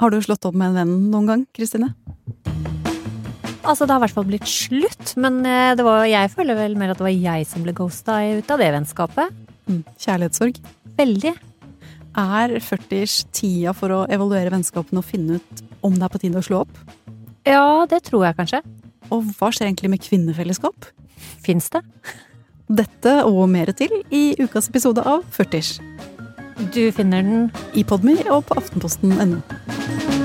Har du slått opp med en venn noen gang, Kristine? Altså, det har i hvert fall blitt slutt, men eh, det var, jeg føler vel mer at det var jeg som ble ghosta ut av det vennskapet. Mm. Kjærlighetssorg. Veldig. Er 40-ish tida for å evaluere vennskapene og finne ut om det er på tide å slå opp? Ja, det tror jeg kanskje. Og hva skjer egentlig med kvinnefellesskap? Fins det? Dette og mer til i ukas episode av 40-ish. Du finner den I Podmy og på aftenposten.no.